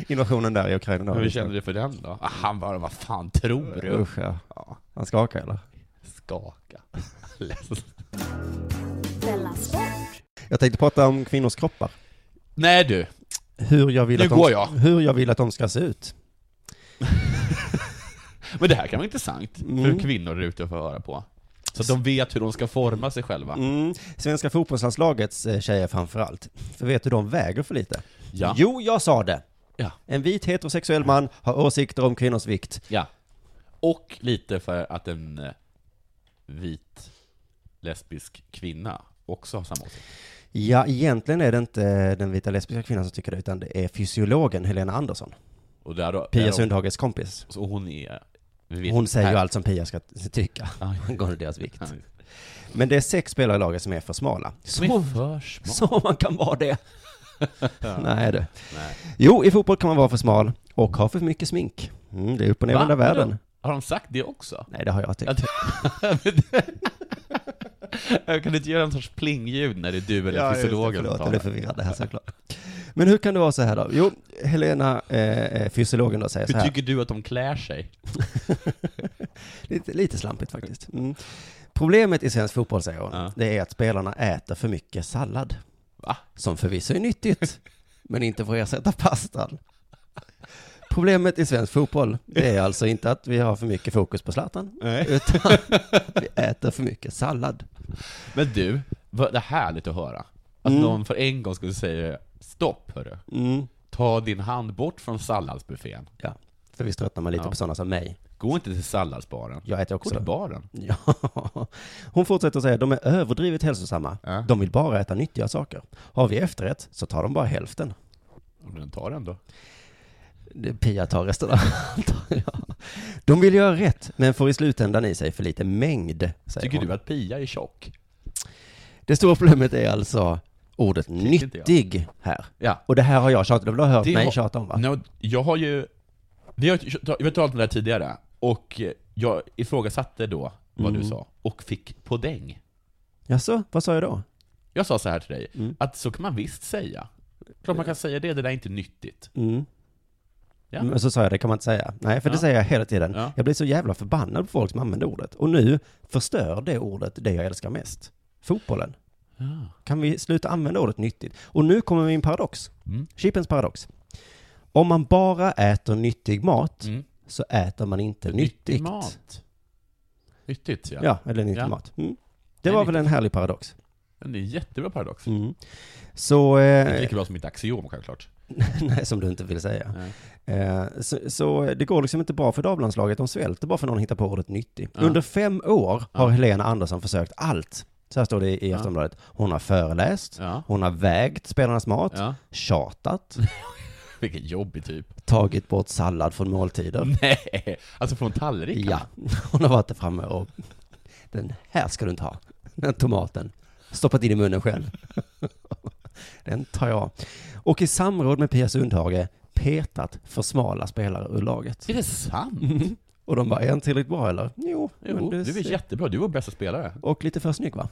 [SPEAKER 1] Invasionen där i Ukraina då.
[SPEAKER 2] Hur kände du för den då? Ah, Han bara, vad fan tror du?
[SPEAKER 1] Usch, ja.
[SPEAKER 2] Ja,
[SPEAKER 1] Han skakar eller?
[SPEAKER 2] skaka. Ledsen.
[SPEAKER 5] Della Sport.
[SPEAKER 1] Jag tänkte prata om kvinnors kroppar.
[SPEAKER 2] Nej du,
[SPEAKER 1] Hur jag vill,
[SPEAKER 2] Nu
[SPEAKER 1] att de,
[SPEAKER 2] går jag.
[SPEAKER 1] Hur jag vill att de ska se ut.
[SPEAKER 2] men det här kan vara intressant
[SPEAKER 1] Mm.
[SPEAKER 2] för kvinnor där ute att få höra på. Så att de vet hur de ska forma sig själva.
[SPEAKER 1] Mm. Svenska fotbollslandslagets eh, tjejer framförallt. För vet du, de väger för lite.
[SPEAKER 2] Ja.
[SPEAKER 1] Jo, jag sa det.
[SPEAKER 2] Ja.
[SPEAKER 1] En vit heterosexuell man har åsikter om kvinnors vikt.
[SPEAKER 2] Ja. Och lite för att en eh, vit lesbisk kvinna också har samma åsikt.
[SPEAKER 1] Ja, egentligen är det inte eh, den vita lesbiska kvinnan som tycker det, utan det är fysiologen Helena Andersson.
[SPEAKER 2] Och där då,
[SPEAKER 1] Pia
[SPEAKER 2] där
[SPEAKER 1] Sundhages kompis.
[SPEAKER 2] Och hon är... vi vet-
[SPEAKER 1] Hon säger ju
[SPEAKER 2] här-
[SPEAKER 1] allt som Pia ska t- tycka
[SPEAKER 2] Ja.
[SPEAKER 1] angående deras vikt.
[SPEAKER 2] Ja.
[SPEAKER 1] Men det är sex spelare i laget som är för smala.
[SPEAKER 2] Som är
[SPEAKER 1] Så,
[SPEAKER 2] för smart.
[SPEAKER 1] så man kan vara det. Nej du.
[SPEAKER 2] Nej.
[SPEAKER 1] Jo, i fotboll kan man vara för smal och ha för mycket smink. Mm, det är upp och ner i
[SPEAKER 2] Va?
[SPEAKER 1] hela världen.
[SPEAKER 2] Har de sagt det också?
[SPEAKER 1] Nej, det har jag tyckt.
[SPEAKER 2] Att- kan du inte göra en sorts plingljud när det är du eller
[SPEAKER 1] Ja, just det,
[SPEAKER 2] fysiologen som
[SPEAKER 1] Förlåt, jag blev
[SPEAKER 2] talar?
[SPEAKER 1] förvirrad här såklart. Men hur kan det vara så här då? Jo, Helena, eh, eh, fysiologen då, säger så
[SPEAKER 2] Hur
[SPEAKER 1] här.
[SPEAKER 2] tycker du att de klär sig?
[SPEAKER 1] Lite, lite slampigt faktiskt. Mm. Problemet i svensk fotboll, säger hon,
[SPEAKER 2] Ja.
[SPEAKER 1] det är att spelarna äter för mycket sallad.
[SPEAKER 2] Va?
[SPEAKER 1] Som förvisso är nyttigt, men inte får ersätta pastan. Problemet i svensk fotboll, det är alltså inte att vi har för mycket fokus på Zlatan, utan vi äter för mycket sallad.
[SPEAKER 2] Men du, vad det är härligt att höra. Att
[SPEAKER 1] Mm.
[SPEAKER 2] någon för en gång skulle säga stopp hörru.
[SPEAKER 1] Mm.
[SPEAKER 2] Ta din hand bort från salladsbuffén.
[SPEAKER 1] Ja, för visst tröttnar man lite
[SPEAKER 2] Ja.
[SPEAKER 1] på sådana som mig.
[SPEAKER 2] Gå inte till salladsbaren.
[SPEAKER 1] Jag äter
[SPEAKER 2] Gå
[SPEAKER 1] också
[SPEAKER 2] till baren.
[SPEAKER 1] Ja. Hon fortsätter att säga, de är överdrivet hälsosamma.
[SPEAKER 2] Ja.
[SPEAKER 1] De vill bara äta nyttiga saker. Har vi efterrätt så tar de bara hälften.
[SPEAKER 2] Om den tar den då.
[SPEAKER 1] Det- Pia tar resten av antar jag. De vill göra rätt, men får i slutändan i sig för lite mängd, säger
[SPEAKER 2] Tycker
[SPEAKER 1] hon.
[SPEAKER 2] du att Pia är tjock?
[SPEAKER 1] Det stora problemet är alltså ordet
[SPEAKER 2] inte jag.
[SPEAKER 1] nyttig här.
[SPEAKER 2] Ja.
[SPEAKER 1] Och det här har jag tjatat om, du har hört
[SPEAKER 2] Det
[SPEAKER 1] mig
[SPEAKER 2] har-
[SPEAKER 1] tjata om va?
[SPEAKER 2] No, jag har ju... Vi har, vi har talat om det här tidigare, och jag ifrågasatte då vad
[SPEAKER 1] Mm.
[SPEAKER 2] du sa, och fick podäng.
[SPEAKER 1] Jaså, vad sa jag då?
[SPEAKER 2] Jag sa så här till dig,
[SPEAKER 1] Mm.
[SPEAKER 2] att så kan man visst säga. Klart man kan säga det, det där är inte nyttigt.
[SPEAKER 1] Mm.
[SPEAKER 2] Ja.
[SPEAKER 1] Men så sa jag, det kan man inte säga. Nej, för det
[SPEAKER 2] Ja.
[SPEAKER 1] säger jag hela tiden.
[SPEAKER 2] Ja.
[SPEAKER 1] Jag blir så jävla förbannad på folk som använder ordet. Och nu förstör det ordet det jag älskar mest. Fotbollen.
[SPEAKER 2] Ja.
[SPEAKER 1] Kan vi sluta använda ordet nyttigt? Och nu kommer min paradox.
[SPEAKER 2] Mm.
[SPEAKER 1] Chippens paradox. Om man bara äter nyttig mat
[SPEAKER 2] Mm.
[SPEAKER 1] så äter man inte nyttigt.
[SPEAKER 2] Nyttig mat. Nyttigt, ja.
[SPEAKER 1] Ja, eller nyttig
[SPEAKER 2] Ja.
[SPEAKER 1] mat. Mm.
[SPEAKER 2] Det
[SPEAKER 1] Det
[SPEAKER 2] är
[SPEAKER 1] var väl en härlig paradox.
[SPEAKER 2] Men det är en jättebra paradox.
[SPEAKER 1] Mm. Så...
[SPEAKER 2] Det är
[SPEAKER 1] Eh,
[SPEAKER 2] lika bra som mitt axiom, självklart.
[SPEAKER 1] nej, som du inte vill säga.
[SPEAKER 2] Nej.
[SPEAKER 1] Eh, så, så det går liksom inte bra för damlandslaget. De svälter bara för någon hittar på ordet nyttig.
[SPEAKER 2] Ja.
[SPEAKER 1] Under fem år har
[SPEAKER 2] Ja.
[SPEAKER 1] Helena Andersson försökt allt. Så här står det i
[SPEAKER 2] Ja.
[SPEAKER 1] Aftonbladet. Hon har föreläst,
[SPEAKER 2] Ja.
[SPEAKER 1] hon har vägt spelarnas mat,
[SPEAKER 2] ja.
[SPEAKER 1] tjatat,
[SPEAKER 2] Vilken jobbig typ.
[SPEAKER 1] tagit bort sallad från måltider.
[SPEAKER 2] Nej! Alltså från tallrikarna.
[SPEAKER 1] Ja, hon har varit där framme och den här ska du inte ha. Den tomaten. Stoppat in i munnen själv. Den tar jag. Och i samråd med Pia Sundhage petat för smala spelare ur laget.
[SPEAKER 2] Är det sant?
[SPEAKER 1] Mhm. Och de bara, är han tillräckligt bra eller? Jo, men
[SPEAKER 2] Jo, du är
[SPEAKER 1] ser-
[SPEAKER 2] jättebra, du var bästa spelare.
[SPEAKER 1] Och lite för snygg va?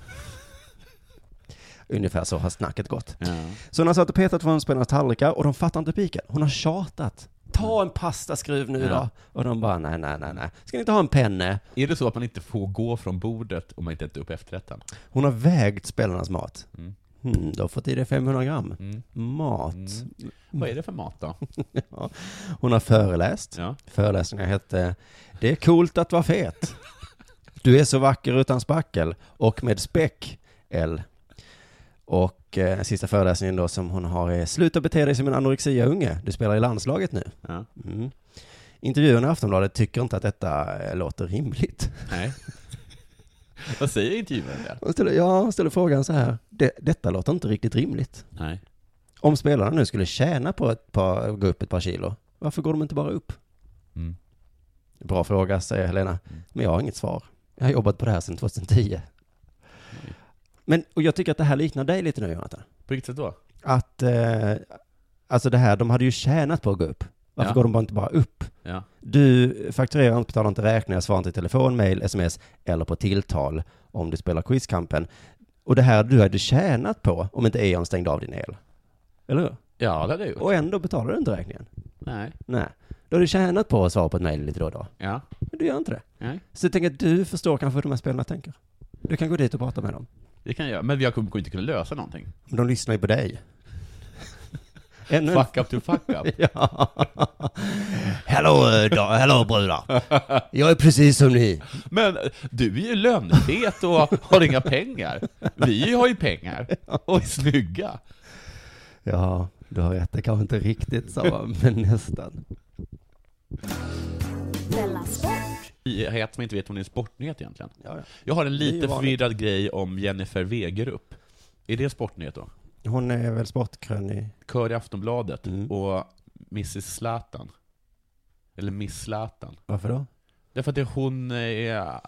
[SPEAKER 1] Ungefär så har snacket gått.
[SPEAKER 2] Ja.
[SPEAKER 1] Så hon har satt och petat från spelarnas tallrikar och de fattar inte piken. Hon har tjatat. Ta en pastaskruv nu
[SPEAKER 2] Ja.
[SPEAKER 1] då. Och de bara, nej, nej, nej, nej. Ska ni inte ha en penne?
[SPEAKER 2] Är det så att man inte får gå från bordet om man inte äter upp efterrätten?
[SPEAKER 1] Hon har vägt spelarnas mat.
[SPEAKER 2] Mm.
[SPEAKER 1] Hmm, då får det 500 gram.
[SPEAKER 2] Mm.
[SPEAKER 1] Mat.
[SPEAKER 2] Mm. Vad är det för mat då?
[SPEAKER 1] Hon har föreläst.
[SPEAKER 2] Ja.
[SPEAKER 1] Föreläsningen hette Det är coolt att vara fet. Du är så vacker utan spackel och med späck, L. Och eh, sista föreläsningen då som hon har är Sluta bete dig som en anorexia-unge. Du spelar i landslaget nu.
[SPEAKER 2] Ja.
[SPEAKER 1] Mm. Intervjuerna i Aftonbladet tycker inte att detta eh, låter rimligt.
[SPEAKER 2] Nej. Vad säger intervjuaren där?
[SPEAKER 1] Hon ställer, ja, hon ställer frågan så här. Det, detta låter inte riktigt rimligt.
[SPEAKER 2] Nej.
[SPEAKER 1] Om spelarna nu skulle tjäna på att par, gå upp ett par kilo, varför går de inte bara upp?
[SPEAKER 2] Mm.
[SPEAKER 1] Bra fråga, säger Helena. Men jag har inget svar. Jag har jobbat på det här sedan 2010. Men, och jag tycker att det här liknar dig lite nu, Jonathan.
[SPEAKER 2] På vilket sätt då?
[SPEAKER 1] Att, eh, alltså det här, de hade ju tjänat på att gå upp. Varför
[SPEAKER 2] Ja.
[SPEAKER 1] går de bara inte bara upp?
[SPEAKER 2] Ja.
[SPEAKER 1] Du fakturerar inte, betalar inte räkningar, svarar inte i telefon, mail, sms eller på tilltal om du spelar quizkampen. Och det här du hade tjänat på om inte Eon stängde av din el. Eller hur?
[SPEAKER 2] Ja, det hade jag gjort.
[SPEAKER 1] Och ändå betalar du inte räkningen.
[SPEAKER 2] Nej.
[SPEAKER 1] Nej. Då har du tjänat på att svara på ett mail lite då och då.
[SPEAKER 2] Ja.
[SPEAKER 1] Men du gör inte det.
[SPEAKER 2] Nej.
[SPEAKER 1] Så jag tänker att du förstår kanske hur de här spelarna tänker. Du kan gå dit och prata med dem.
[SPEAKER 2] Det kan jag göra. Men jag kommer kommer inte kunna lösa någonting.
[SPEAKER 1] Men de lyssnar ju på dig. Ännu en-
[SPEAKER 2] Fuck up to fuck up.
[SPEAKER 1] Ja. Hello, eh, da- hello brudar. Jag är precis som ni.
[SPEAKER 2] Men eh, du är ju lönnfet och har inga pengar. Vi har ju pengar och är snygga.
[SPEAKER 1] Ja, du har rätt. Det kanske inte riktigt samma, men nästan.
[SPEAKER 5] Della Sport,
[SPEAKER 2] Nyhet som jag inte vet om det är en sportnyhet egentligen.
[SPEAKER 1] Ja,
[SPEAKER 2] Jag har en
[SPEAKER 1] Det är ju
[SPEAKER 2] lite
[SPEAKER 1] vanligt.
[SPEAKER 2] förvirrad grej om Jennifer Wegerup. Är det en sportnyhet då?
[SPEAKER 1] ja. Hon är väl sportkrönig.
[SPEAKER 2] Kör i Aftonbladet
[SPEAKER 1] Mm.
[SPEAKER 2] och Mrs Zlatan. Eller Miss Zlatan.
[SPEAKER 1] Varför då?
[SPEAKER 2] Därför att det är hon eh, är...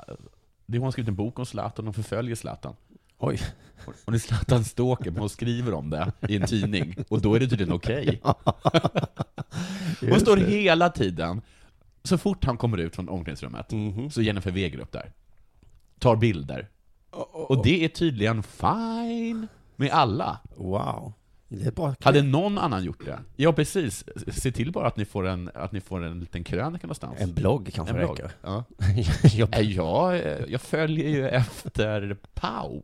[SPEAKER 2] Det är hon har skrivit en bok om Zlatan, hon förföljer Zlatan.
[SPEAKER 1] Oj.
[SPEAKER 2] Hon är Zlatan Stalker, men hon skriver om det i en tidning. Och då är det tydligen okej. Hon
[SPEAKER 1] Just
[SPEAKER 2] står
[SPEAKER 1] det.
[SPEAKER 2] hela tiden, så fort han kommer ut från omklädningsrummet,
[SPEAKER 1] Mhm.
[SPEAKER 2] så Jennifer Wegerup där. Tar bilder. Och det är tydligen fine med alla.
[SPEAKER 1] Wow. Det är bra.
[SPEAKER 2] Hade någon annan gjort det? Ja, precis. Se till bara att ni får en, att ni får en liten krönika någonstans.
[SPEAKER 1] En blogg kanske
[SPEAKER 2] En blogg.
[SPEAKER 1] räcker.
[SPEAKER 2] Ja.
[SPEAKER 1] jag,
[SPEAKER 2] Nej, Jag, eh, jag följer ju efter Pau.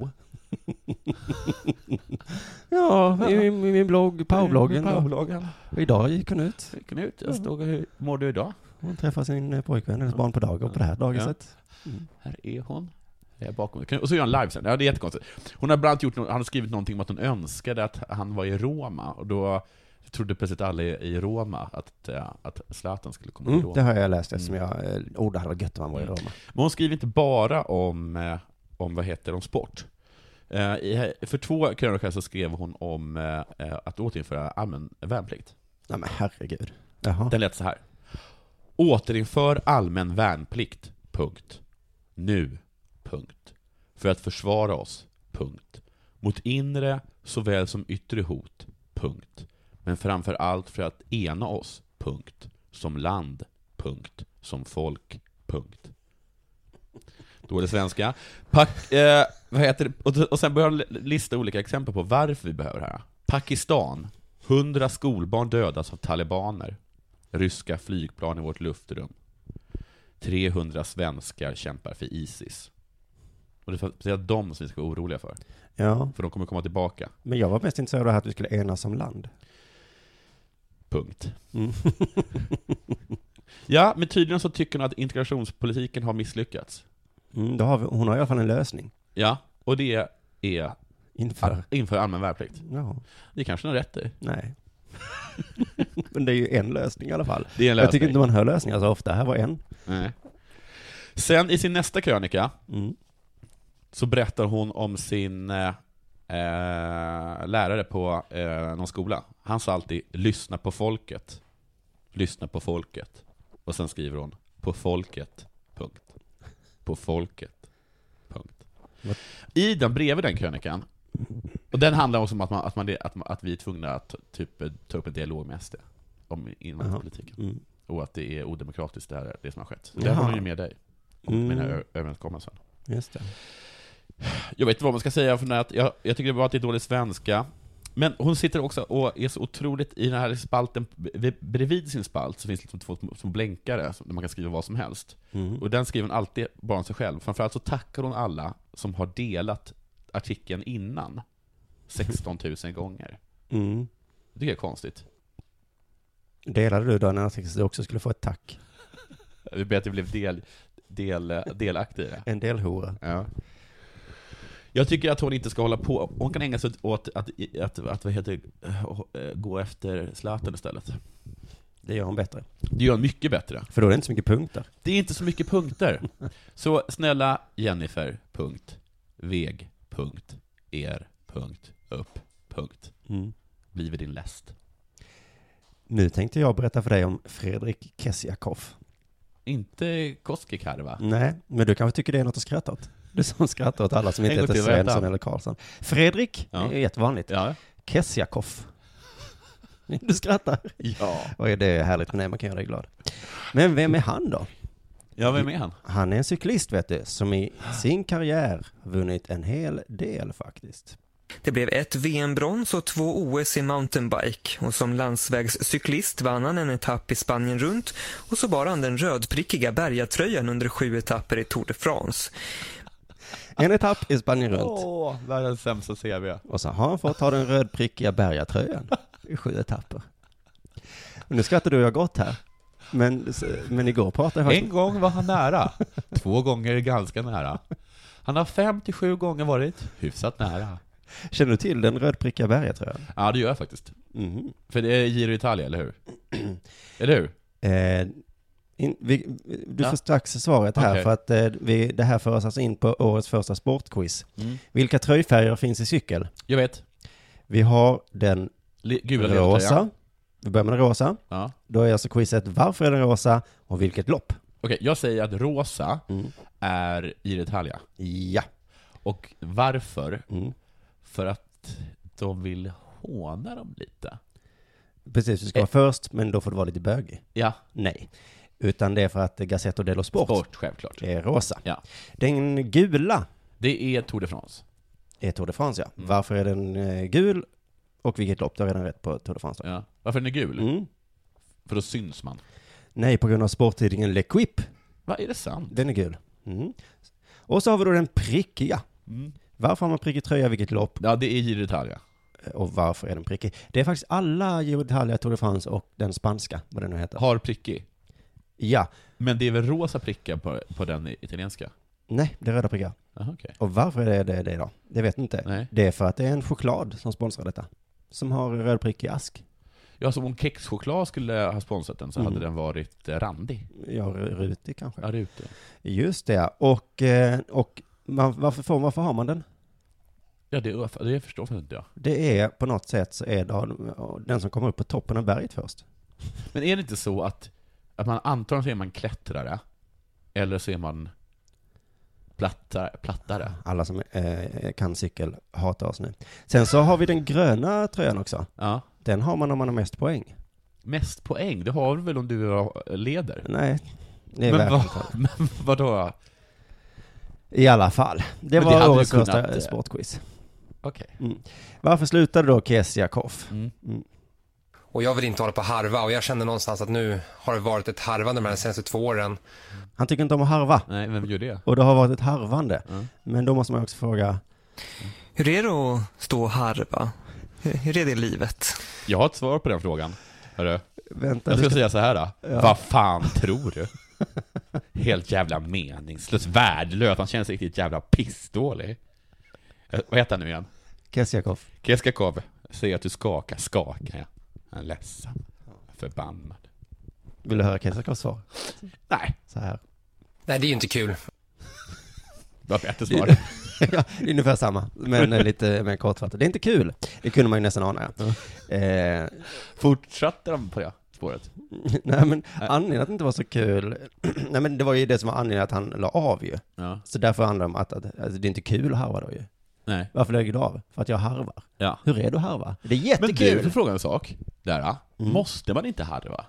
[SPEAKER 1] ja, i, i min blogg, Powerbloggen.
[SPEAKER 2] Pau-bloggen. Mm.
[SPEAKER 1] Och Idag gick hon ut.
[SPEAKER 2] Knut, jag stod och hur mår du idag?
[SPEAKER 1] Hon träffar sin eh, pojkvän, hennes barn på dagis, på det här dagiset.
[SPEAKER 2] Här är hon. Där bakom. Och så gör han live sen. Ja, det är jättekonstigt. Hon har bland annat gjort, no- han har skrivit någonting om att hon önskade att han var i Roma, och då trodde plötsligt alla i i Roma att, eh, att Zlatan skulle komma till
[SPEAKER 1] Mm, det
[SPEAKER 2] Roma.
[SPEAKER 1] har jag läst eftersom jag, eh, oh det hade varit gött om man var i Roma.
[SPEAKER 2] Men hon skriver inte bara om, eh, om vad heter det, om sport. Eh, i- För två krönikor så skrev hon om eh, eh, att återinföra allmän värnplikt.
[SPEAKER 1] Nej men herregud. Jaha.
[SPEAKER 2] Den lät så här. Återinför allmän värnplikt. Punkt. Nu. Punkt. För att försvara oss. Punkt. Mot inre såväl som yttre hot. Punkt. Men framför allt för att ena oss. Punkt. Som land. Punkt. Som folk. Punkt. Dålig svenska. Pak- eh, vad heter det? Och, och sen börjar jag lista olika exempel på varför vi behöver det här. Pakistan. 100 skolbarn dödas av talibaner. Ryska flygplan i vårt luftrum. 300 svenskar kämpar för Isis. Och det är för- det är de som vi ska vara oroliga för.
[SPEAKER 1] Ja,
[SPEAKER 2] För de kommer komma tillbaka.
[SPEAKER 1] men jag var mest intresserad av det här att vi skulle enas som land.
[SPEAKER 2] Punkt.
[SPEAKER 1] Mm.
[SPEAKER 2] ja, men tydligen så tycker hon att integrationspolitiken har misslyckats.
[SPEAKER 1] Mm, då har vi, hon har i alla fall en lösning.
[SPEAKER 2] Ja, och det är
[SPEAKER 1] Inför.
[SPEAKER 2] inför allmän värnplikt.
[SPEAKER 1] Ja,
[SPEAKER 2] Det kanske hon har rätt i.
[SPEAKER 1] nej. men det är ju en lösning i alla fall.
[SPEAKER 2] Det är en lösning.
[SPEAKER 1] Jag tycker inte man hör lösningar så ofta. Här var en.
[SPEAKER 2] Nej. Sen i sin nästa krönika
[SPEAKER 1] Mm.
[SPEAKER 2] så berättar hon om sin eh, eh, lärare på eh, någon skola. Han sa alltid ”lyssna på folket”. Lyssna på folket. Och sen skriver hon ”på folket”. Punkt. På folket. Punkt.
[SPEAKER 1] Vad-
[SPEAKER 2] I den bredvid den krönikan, Och den handlar också om att, man, att, man, att, man, att vi är tvungna att typ, ta upp en dialog med SD om invandringspolitiken.
[SPEAKER 1] Mm.
[SPEAKER 2] Och att det är odemokratiskt det, här, det som har skett.
[SPEAKER 1] Jaha.
[SPEAKER 2] Där har hon ju med dig, om
[SPEAKER 1] Mm.
[SPEAKER 2] mina ö- överenskommelser.
[SPEAKER 1] Just det.
[SPEAKER 2] Jag vet inte vad man ska säga, för den här- att jag, jag tycker det var att det är dålig svenska. Men hon sitter också och är så otroligt, i den här spalten, b- bredvid sin spalt, så finns det liksom två små- små blänkare, som- där man kan skriva vad som helst.
[SPEAKER 1] Mm.
[SPEAKER 2] Och den skriver hon alltid bara om sig själv. Framförallt så tackar hon alla som har delat artikeln innan. 16 000 gånger.
[SPEAKER 1] Mm.
[SPEAKER 2] Det tycker jag är konstigt.
[SPEAKER 1] Delade du då en artikel så du också skulle få ett tack?
[SPEAKER 2] Vi ber att jag blev del, del, delaktig i det.
[SPEAKER 1] En del hora.
[SPEAKER 2] Ja. Jag tycker att hon inte ska hålla på. Hon kan ägna sig åt att, att, att vad heter, det, eh, gå efter Zlatan istället.
[SPEAKER 1] Det gör hon bättre.
[SPEAKER 2] Det gör hon mycket bättre.
[SPEAKER 1] För då är det inte så mycket punkter.
[SPEAKER 2] Det är inte så mycket punkter. Så snälla Jennifer, punkt. Veg, punkt. Er, punkt. Upp, punkt. Blivit din läst.
[SPEAKER 1] Nu tänkte jag berätta för dig om Fredrik Kessiakoff.
[SPEAKER 2] Inte Koskikarva.
[SPEAKER 1] Nej, men du kanske tycker det är något att skratta åt? Du som skrattar åt alla som
[SPEAKER 2] En
[SPEAKER 1] inte
[SPEAKER 2] gång
[SPEAKER 1] heter
[SPEAKER 2] till, vad heter
[SPEAKER 1] Svensson
[SPEAKER 2] han?
[SPEAKER 1] eller Karlsson. Fredrik,
[SPEAKER 2] Ja.
[SPEAKER 1] det är jättevanligt.
[SPEAKER 2] Ja.
[SPEAKER 1] Kessiakoff. Du skrattar.
[SPEAKER 2] Ja.
[SPEAKER 1] Oj, det är härligt med det, man kan göra dig glad. Men vem är han då?
[SPEAKER 2] Ja, vem är han?
[SPEAKER 1] Han är en cyklist, vet du, som i sin karriär vunnit en hel del faktiskt.
[SPEAKER 3] Det blev ett VM-brons och två OS i mountainbike och som landsvägscyklist vann han en etapp i Spanien runt och så bar han den rödprickiga bergatröjan under sju etapper i Tour de France.
[SPEAKER 1] En etapp i Spanien runt.
[SPEAKER 2] Åh, världens sämsta CV.
[SPEAKER 1] Och så har han fått ha den rödprickiga bergatröjan i sju etapper. Och nu skrattar du och jag gott här. Men, men igår pratade jag
[SPEAKER 2] En
[SPEAKER 1] faktiskt...
[SPEAKER 2] gång var han nära. Två gånger ganska nära. Han har fem till sju gånger varit hyfsat nära.
[SPEAKER 1] Känner du till den rödprickiga bergatröjan?
[SPEAKER 2] Ja, det gör jag faktiskt.
[SPEAKER 1] Mhm.
[SPEAKER 2] För det är Giro Italia, eller hur? Eller hur?
[SPEAKER 1] Eh, in, vi, du
[SPEAKER 2] Ja.
[SPEAKER 1] får strax svaret här
[SPEAKER 2] Okej.
[SPEAKER 1] för att eh, vi, det här för oss alltså in på årets första sportquiz.
[SPEAKER 2] Mm.
[SPEAKER 1] Vilka tröjfärger finns i cykel?
[SPEAKER 2] Jag vet.
[SPEAKER 1] Vi har den
[SPEAKER 2] Le- gula ledtröjan.
[SPEAKER 1] rosa. Vi börjar med den rosa.
[SPEAKER 2] Ja.
[SPEAKER 1] Då är alltså quizet varför är den rosa och vilket lopp?
[SPEAKER 2] Okej, jag säger att rosa
[SPEAKER 1] Mm.
[SPEAKER 2] är Giro Italia.
[SPEAKER 1] Ja.
[SPEAKER 2] Och varför?
[SPEAKER 1] Mm.
[SPEAKER 2] För att de vill håna dem lite.
[SPEAKER 1] Precis, du ska vara
[SPEAKER 2] Eh.
[SPEAKER 1] först men då får du vara lite bögig.
[SPEAKER 2] Ja,
[SPEAKER 1] Nej. Utan det är för att Gazzetto dello Sport
[SPEAKER 2] sport självklart.
[SPEAKER 1] är rosa.
[SPEAKER 2] Ja.
[SPEAKER 1] Den gula
[SPEAKER 2] Det är Tour de France.
[SPEAKER 1] är Tour de France ja.
[SPEAKER 2] Mm.
[SPEAKER 1] Varför är den eh, gul och vilket lopp? Du har redan rätt på Tour de France då.
[SPEAKER 2] Ja. Varför den är gul?
[SPEAKER 1] Mm.
[SPEAKER 2] För då syns man.
[SPEAKER 1] Nej, på grund av sporttidningen L'Equipe.
[SPEAKER 2] Vad är det sant?
[SPEAKER 1] Den är gul. Mm. Och så har vi då den prickiga.
[SPEAKER 2] Mm.
[SPEAKER 1] Varför har man prickig tröja, vilket lopp
[SPEAKER 2] Ja, det är Giro d'Italia.
[SPEAKER 1] och varför är den prickig? Det är faktiskt alla Giro d'Italia, Tour de France och den spanska, vad den nu heter.
[SPEAKER 2] Har prickig.
[SPEAKER 1] Ja,
[SPEAKER 2] Men det är väl rosa prickar på, på den italienska?
[SPEAKER 1] nej, det är röda prickar.
[SPEAKER 2] Jaha, okej.
[SPEAKER 1] Och varför är det det, det då? Det vet jag inte.
[SPEAKER 2] Nej.
[SPEAKER 1] Det är för att det är en choklad som sponsrar detta. Som har röd prick i ask.
[SPEAKER 2] Ja, som om kexchoklad skulle ha sponsrat den så
[SPEAKER 1] Mm.
[SPEAKER 2] hade den varit eh, randig.
[SPEAKER 1] Ja, r- rutig kanske.
[SPEAKER 2] Ja, rutig.
[SPEAKER 1] Just det, ja. och, eh, och man, varför, får, varför har man den?
[SPEAKER 2] Ja, det, är- det förstår faktiskt inte jag.
[SPEAKER 1] Det är på något sätt så är det den som kommer upp på toppen av berget först.
[SPEAKER 2] Men är det inte så att, att man antagligen så är man klättrare, eller så är man plattare? plattare.
[SPEAKER 1] Alla som eh, kan cykel hatar oss nu. Sen så har vi den gröna tröjan också.
[SPEAKER 2] Ja.
[SPEAKER 1] Den har man om man har mest poäng.
[SPEAKER 2] Mest poäng, det har du väl om du leder?
[SPEAKER 1] Nej, det är
[SPEAKER 2] men,
[SPEAKER 1] verkligen
[SPEAKER 2] vad, men vadå?
[SPEAKER 1] I alla fall. Det
[SPEAKER 2] Men det hade
[SPEAKER 1] var
[SPEAKER 2] du
[SPEAKER 1] årets
[SPEAKER 2] kunnat,
[SPEAKER 1] första
[SPEAKER 2] eh,
[SPEAKER 1] sportquiz.
[SPEAKER 2] Okej.
[SPEAKER 1] Varför slutade då Kessiakoff?
[SPEAKER 2] Mm.
[SPEAKER 4] Och jag vill inte hålla på och harva och jag känner någonstans att nu har det varit ett harvande med de senaste två åren.
[SPEAKER 1] Han tycker inte om att harva.
[SPEAKER 2] Nej, vem gör det?
[SPEAKER 1] Och det har varit ett harvande.
[SPEAKER 2] Mm.
[SPEAKER 1] Men då måste man också fråga,
[SPEAKER 3] Hur är det att stå och harva? Hur hur är det livet?
[SPEAKER 2] Jag har ett svar på den frågan. Hörru.
[SPEAKER 1] vänta,
[SPEAKER 2] Jag
[SPEAKER 1] du
[SPEAKER 2] ska
[SPEAKER 1] ska,
[SPEAKER 2] säga så här då. Vad fan tror du? Helt jävla meningslös, värdelös, han känns riktigt jävla pissdålig. Eh, Vad heter han nu igen?
[SPEAKER 1] Kessiakoff.
[SPEAKER 2] Keskakov, säg att du skakar, skakar jag. Han är ledsen. Förbannad.
[SPEAKER 1] Vill du höra Kessiakoffs svar?
[SPEAKER 2] Nej,
[SPEAKER 1] Så här.
[SPEAKER 4] Nej, det är ju inte kul.
[SPEAKER 2] det var bättre svar.
[SPEAKER 1] ja, det är ungefär samma, men eh, lite mer kortfattat. Det är inte kul. Det kunde man ju nästan ana. ja. Eh,
[SPEAKER 2] Fortsatte de på det spåret?
[SPEAKER 1] Nej men anledningen att det inte var så kul, nej men det var ju det som var anledningen att han la av ju.
[SPEAKER 2] Ja.
[SPEAKER 1] Så därför handlar det om att, att alltså, det är inte kul att harva då ju.
[SPEAKER 2] Nej.
[SPEAKER 1] Varför lägger du av? För att jag harvar.
[SPEAKER 2] Ja.
[SPEAKER 1] Hur är du att harva? Det är
[SPEAKER 2] Men du,
[SPEAKER 1] jättekul!
[SPEAKER 2] får fråga en sak. Där, ja. Måste man inte harva?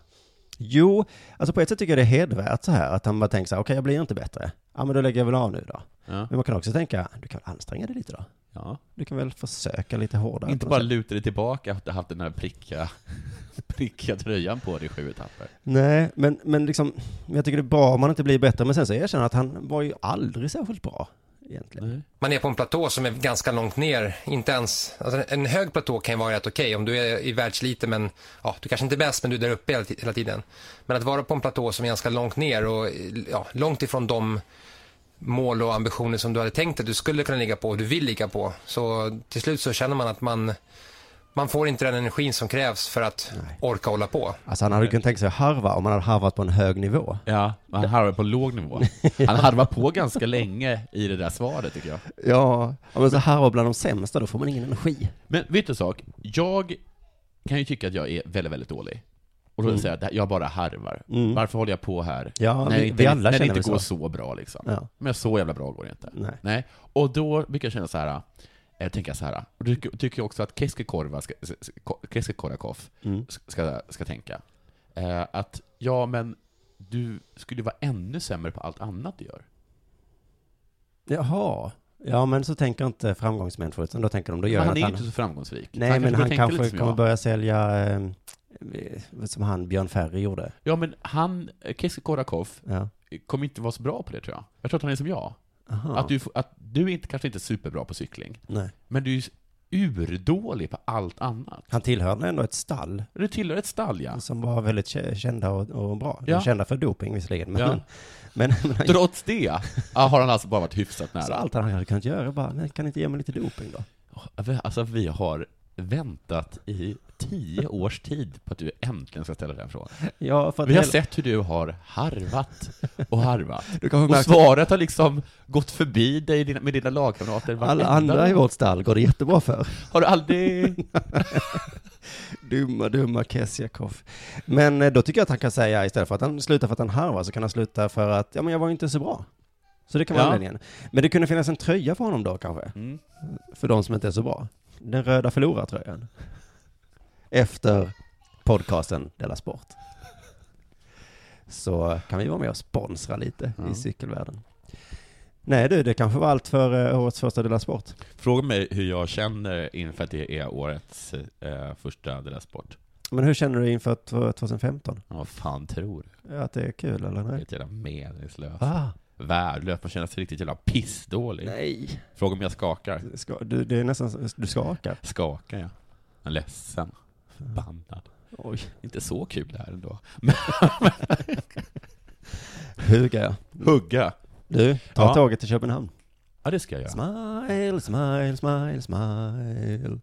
[SPEAKER 1] Jo, alltså på ett sätt tycker jag det är hedervärt så här, att han bara tänker så här, okej jag blir inte bättre. Ja men då lägger jag väl av nu då.
[SPEAKER 2] Ja.
[SPEAKER 1] Men man kan också tänka, du kan väl anstränga dig lite då?
[SPEAKER 2] ja.
[SPEAKER 1] Du kan väl försöka lite hårdare?
[SPEAKER 2] Inte
[SPEAKER 1] på
[SPEAKER 2] bara
[SPEAKER 1] något sätt.
[SPEAKER 2] luta dig tillbaka efter att ha haft den här prickiga, prickiga tröjan på dig i sju etapper.
[SPEAKER 1] Nej, men, men liksom, men jag tycker det är bra om man inte blir bättre, men sen så erkänner jag att han var ju aldrig särskilt bra egentligen.
[SPEAKER 4] Man är på en platå som är ganska långt ner. Inte ens, alltså en hög platå kan ju vara rätt okej om du är i världsliten men ja, du kanske inte är bäst men du är där uppe hela, ti- hela tiden. Men att vara på en platå som är ganska långt ner och ja, långt ifrån de mål och ambitioner som du hade tänkt att du skulle kunna ligga på och du vill ligga på. Så till slut så känner man att man, man får inte den energin som krävs för att orka hålla på.
[SPEAKER 1] Alltså han hade ju kunnat tänka sig att harva om han hade harvat på en hög nivå.
[SPEAKER 2] Ja, men han harvar på låg nivå. Han harvar på ganska länge i det där svaret tycker jag.
[SPEAKER 1] Ja, ja men så harva bland de sämsta, då får man ingen energi.
[SPEAKER 2] Men vet du en sak? Jag kan ju tycka att jag är väldigt, väldigt dålig. Och då vill jag säga att jag bara harvar. Varför håller jag på här?
[SPEAKER 1] Mm. Ja,
[SPEAKER 2] när det
[SPEAKER 1] vi-
[SPEAKER 2] inte,
[SPEAKER 1] vi alla
[SPEAKER 2] när det
[SPEAKER 1] känner
[SPEAKER 2] inte
[SPEAKER 1] väl så.
[SPEAKER 2] går så bra liksom.
[SPEAKER 1] Ja.
[SPEAKER 2] Men så jävla bra går det inte.
[SPEAKER 1] Nej.
[SPEAKER 2] Och då brukar jag känna så här, eh, tänka så här, och då tycker- tycker jag också att Keskekorva ska, s- s- Ko- Keskekorvakov
[SPEAKER 1] Mm.
[SPEAKER 2] ska, ska tänka. Eh, att, ja men, du skulle ju vara ännu sämre på allt annat du gör.
[SPEAKER 1] Jaha. Ja, men så tänker inte framgångsmänniskor, utan då tänker de, då gör
[SPEAKER 2] Men
[SPEAKER 1] jag
[SPEAKER 2] han
[SPEAKER 1] något
[SPEAKER 2] är ju
[SPEAKER 1] annat.
[SPEAKER 2] inte så liksom, framgångsrik.
[SPEAKER 1] Nej, men
[SPEAKER 2] borde
[SPEAKER 1] han
[SPEAKER 2] tänka
[SPEAKER 1] kanske
[SPEAKER 2] lite som
[SPEAKER 1] kommer
[SPEAKER 2] jag.
[SPEAKER 1] börja sälja, eh, eh, som han Björn Ferry gjorde.
[SPEAKER 2] Ja men han, eh, Keskekorvakov,
[SPEAKER 1] Ja.
[SPEAKER 2] kommer inte vara så bra på det tror jag. Jag tror att han är som jag.
[SPEAKER 1] Aha.
[SPEAKER 2] Att du, får- att du är inte, kanske inte är superbra på cykling,
[SPEAKER 1] Nej.
[SPEAKER 2] men du är ju urdålig på allt annat.
[SPEAKER 1] Han tillhörde ändå ett stall
[SPEAKER 2] Du tillhör ett stall ja.
[SPEAKER 1] som var väldigt kä- kända och, och bra. De
[SPEAKER 2] Ja.
[SPEAKER 1] var Kända för doping visserligen, men,
[SPEAKER 2] Ja.
[SPEAKER 1] men, men han,
[SPEAKER 2] Trots det ja, har han alltså bara varit hyfsat
[SPEAKER 1] så
[SPEAKER 2] nära.
[SPEAKER 1] allt han hade kunnat göra bara, nej, kan ni inte ge mig lite doping då?
[SPEAKER 2] Alltså vi har väntat i tio års tid på att du äntligen ska ställa den frågan.
[SPEAKER 1] Ja, för att
[SPEAKER 2] Vi har
[SPEAKER 1] hela-
[SPEAKER 2] sett hur du har harvat och harvat.
[SPEAKER 1] Du kanske
[SPEAKER 2] Och
[SPEAKER 1] märker-
[SPEAKER 2] svaret har liksom gått förbi dig dina- med dina lagkamrater.
[SPEAKER 1] alla
[SPEAKER 2] varenda
[SPEAKER 1] andra i
[SPEAKER 2] gång.
[SPEAKER 1] vårt stall går det jättebra för.
[SPEAKER 2] Har du aldrig...
[SPEAKER 1] Dumma, dumma Kessiakoff. Men eh, då tycker jag att han kan säga, istället för att han slutar för att han harvar, så kan han sluta för att, ja men jag var ju inte så bra. Så det kan vara
[SPEAKER 2] Ja.
[SPEAKER 1] anledningen. Men det kunde finnas en tröja för honom då kanske?
[SPEAKER 2] Mm.
[SPEAKER 1] För de som inte är så bra. Den röda förlorartröjan. Efter podcasten Della Sport. Så kan vi vara med och sponsra lite i cykelvärlden. Nej du, det kanske var allt för eh, årets första Della Sport.
[SPEAKER 2] Fråga mig hur jag känner inför att det är årets eh, första Della Sport.
[SPEAKER 1] Men hur känner du inför t- 2015?
[SPEAKER 2] Ja, vad fan tror du?
[SPEAKER 1] Att det är kul eller
[SPEAKER 2] Det är
[SPEAKER 1] nej?
[SPEAKER 2] ett jävla meningslöst.
[SPEAKER 1] Ah,
[SPEAKER 2] Värdelöst, man känner sig riktigt jävla pissdålig.
[SPEAKER 1] nej.
[SPEAKER 2] Fråga om jag skakar.
[SPEAKER 1] Ska, du, det är nästan, så- du skakar.
[SPEAKER 2] Skakar jag? Jag är ledsen. Förbannad.
[SPEAKER 1] Oj.
[SPEAKER 2] Inte så kul det här ändå.
[SPEAKER 1] Hugger jag.
[SPEAKER 2] Hugga!
[SPEAKER 1] Du, ta
[SPEAKER 2] Ja.
[SPEAKER 1] tåget till Köpenhamn.
[SPEAKER 2] Ja, det ska jag göra.
[SPEAKER 1] Smile, smile, smile, smile.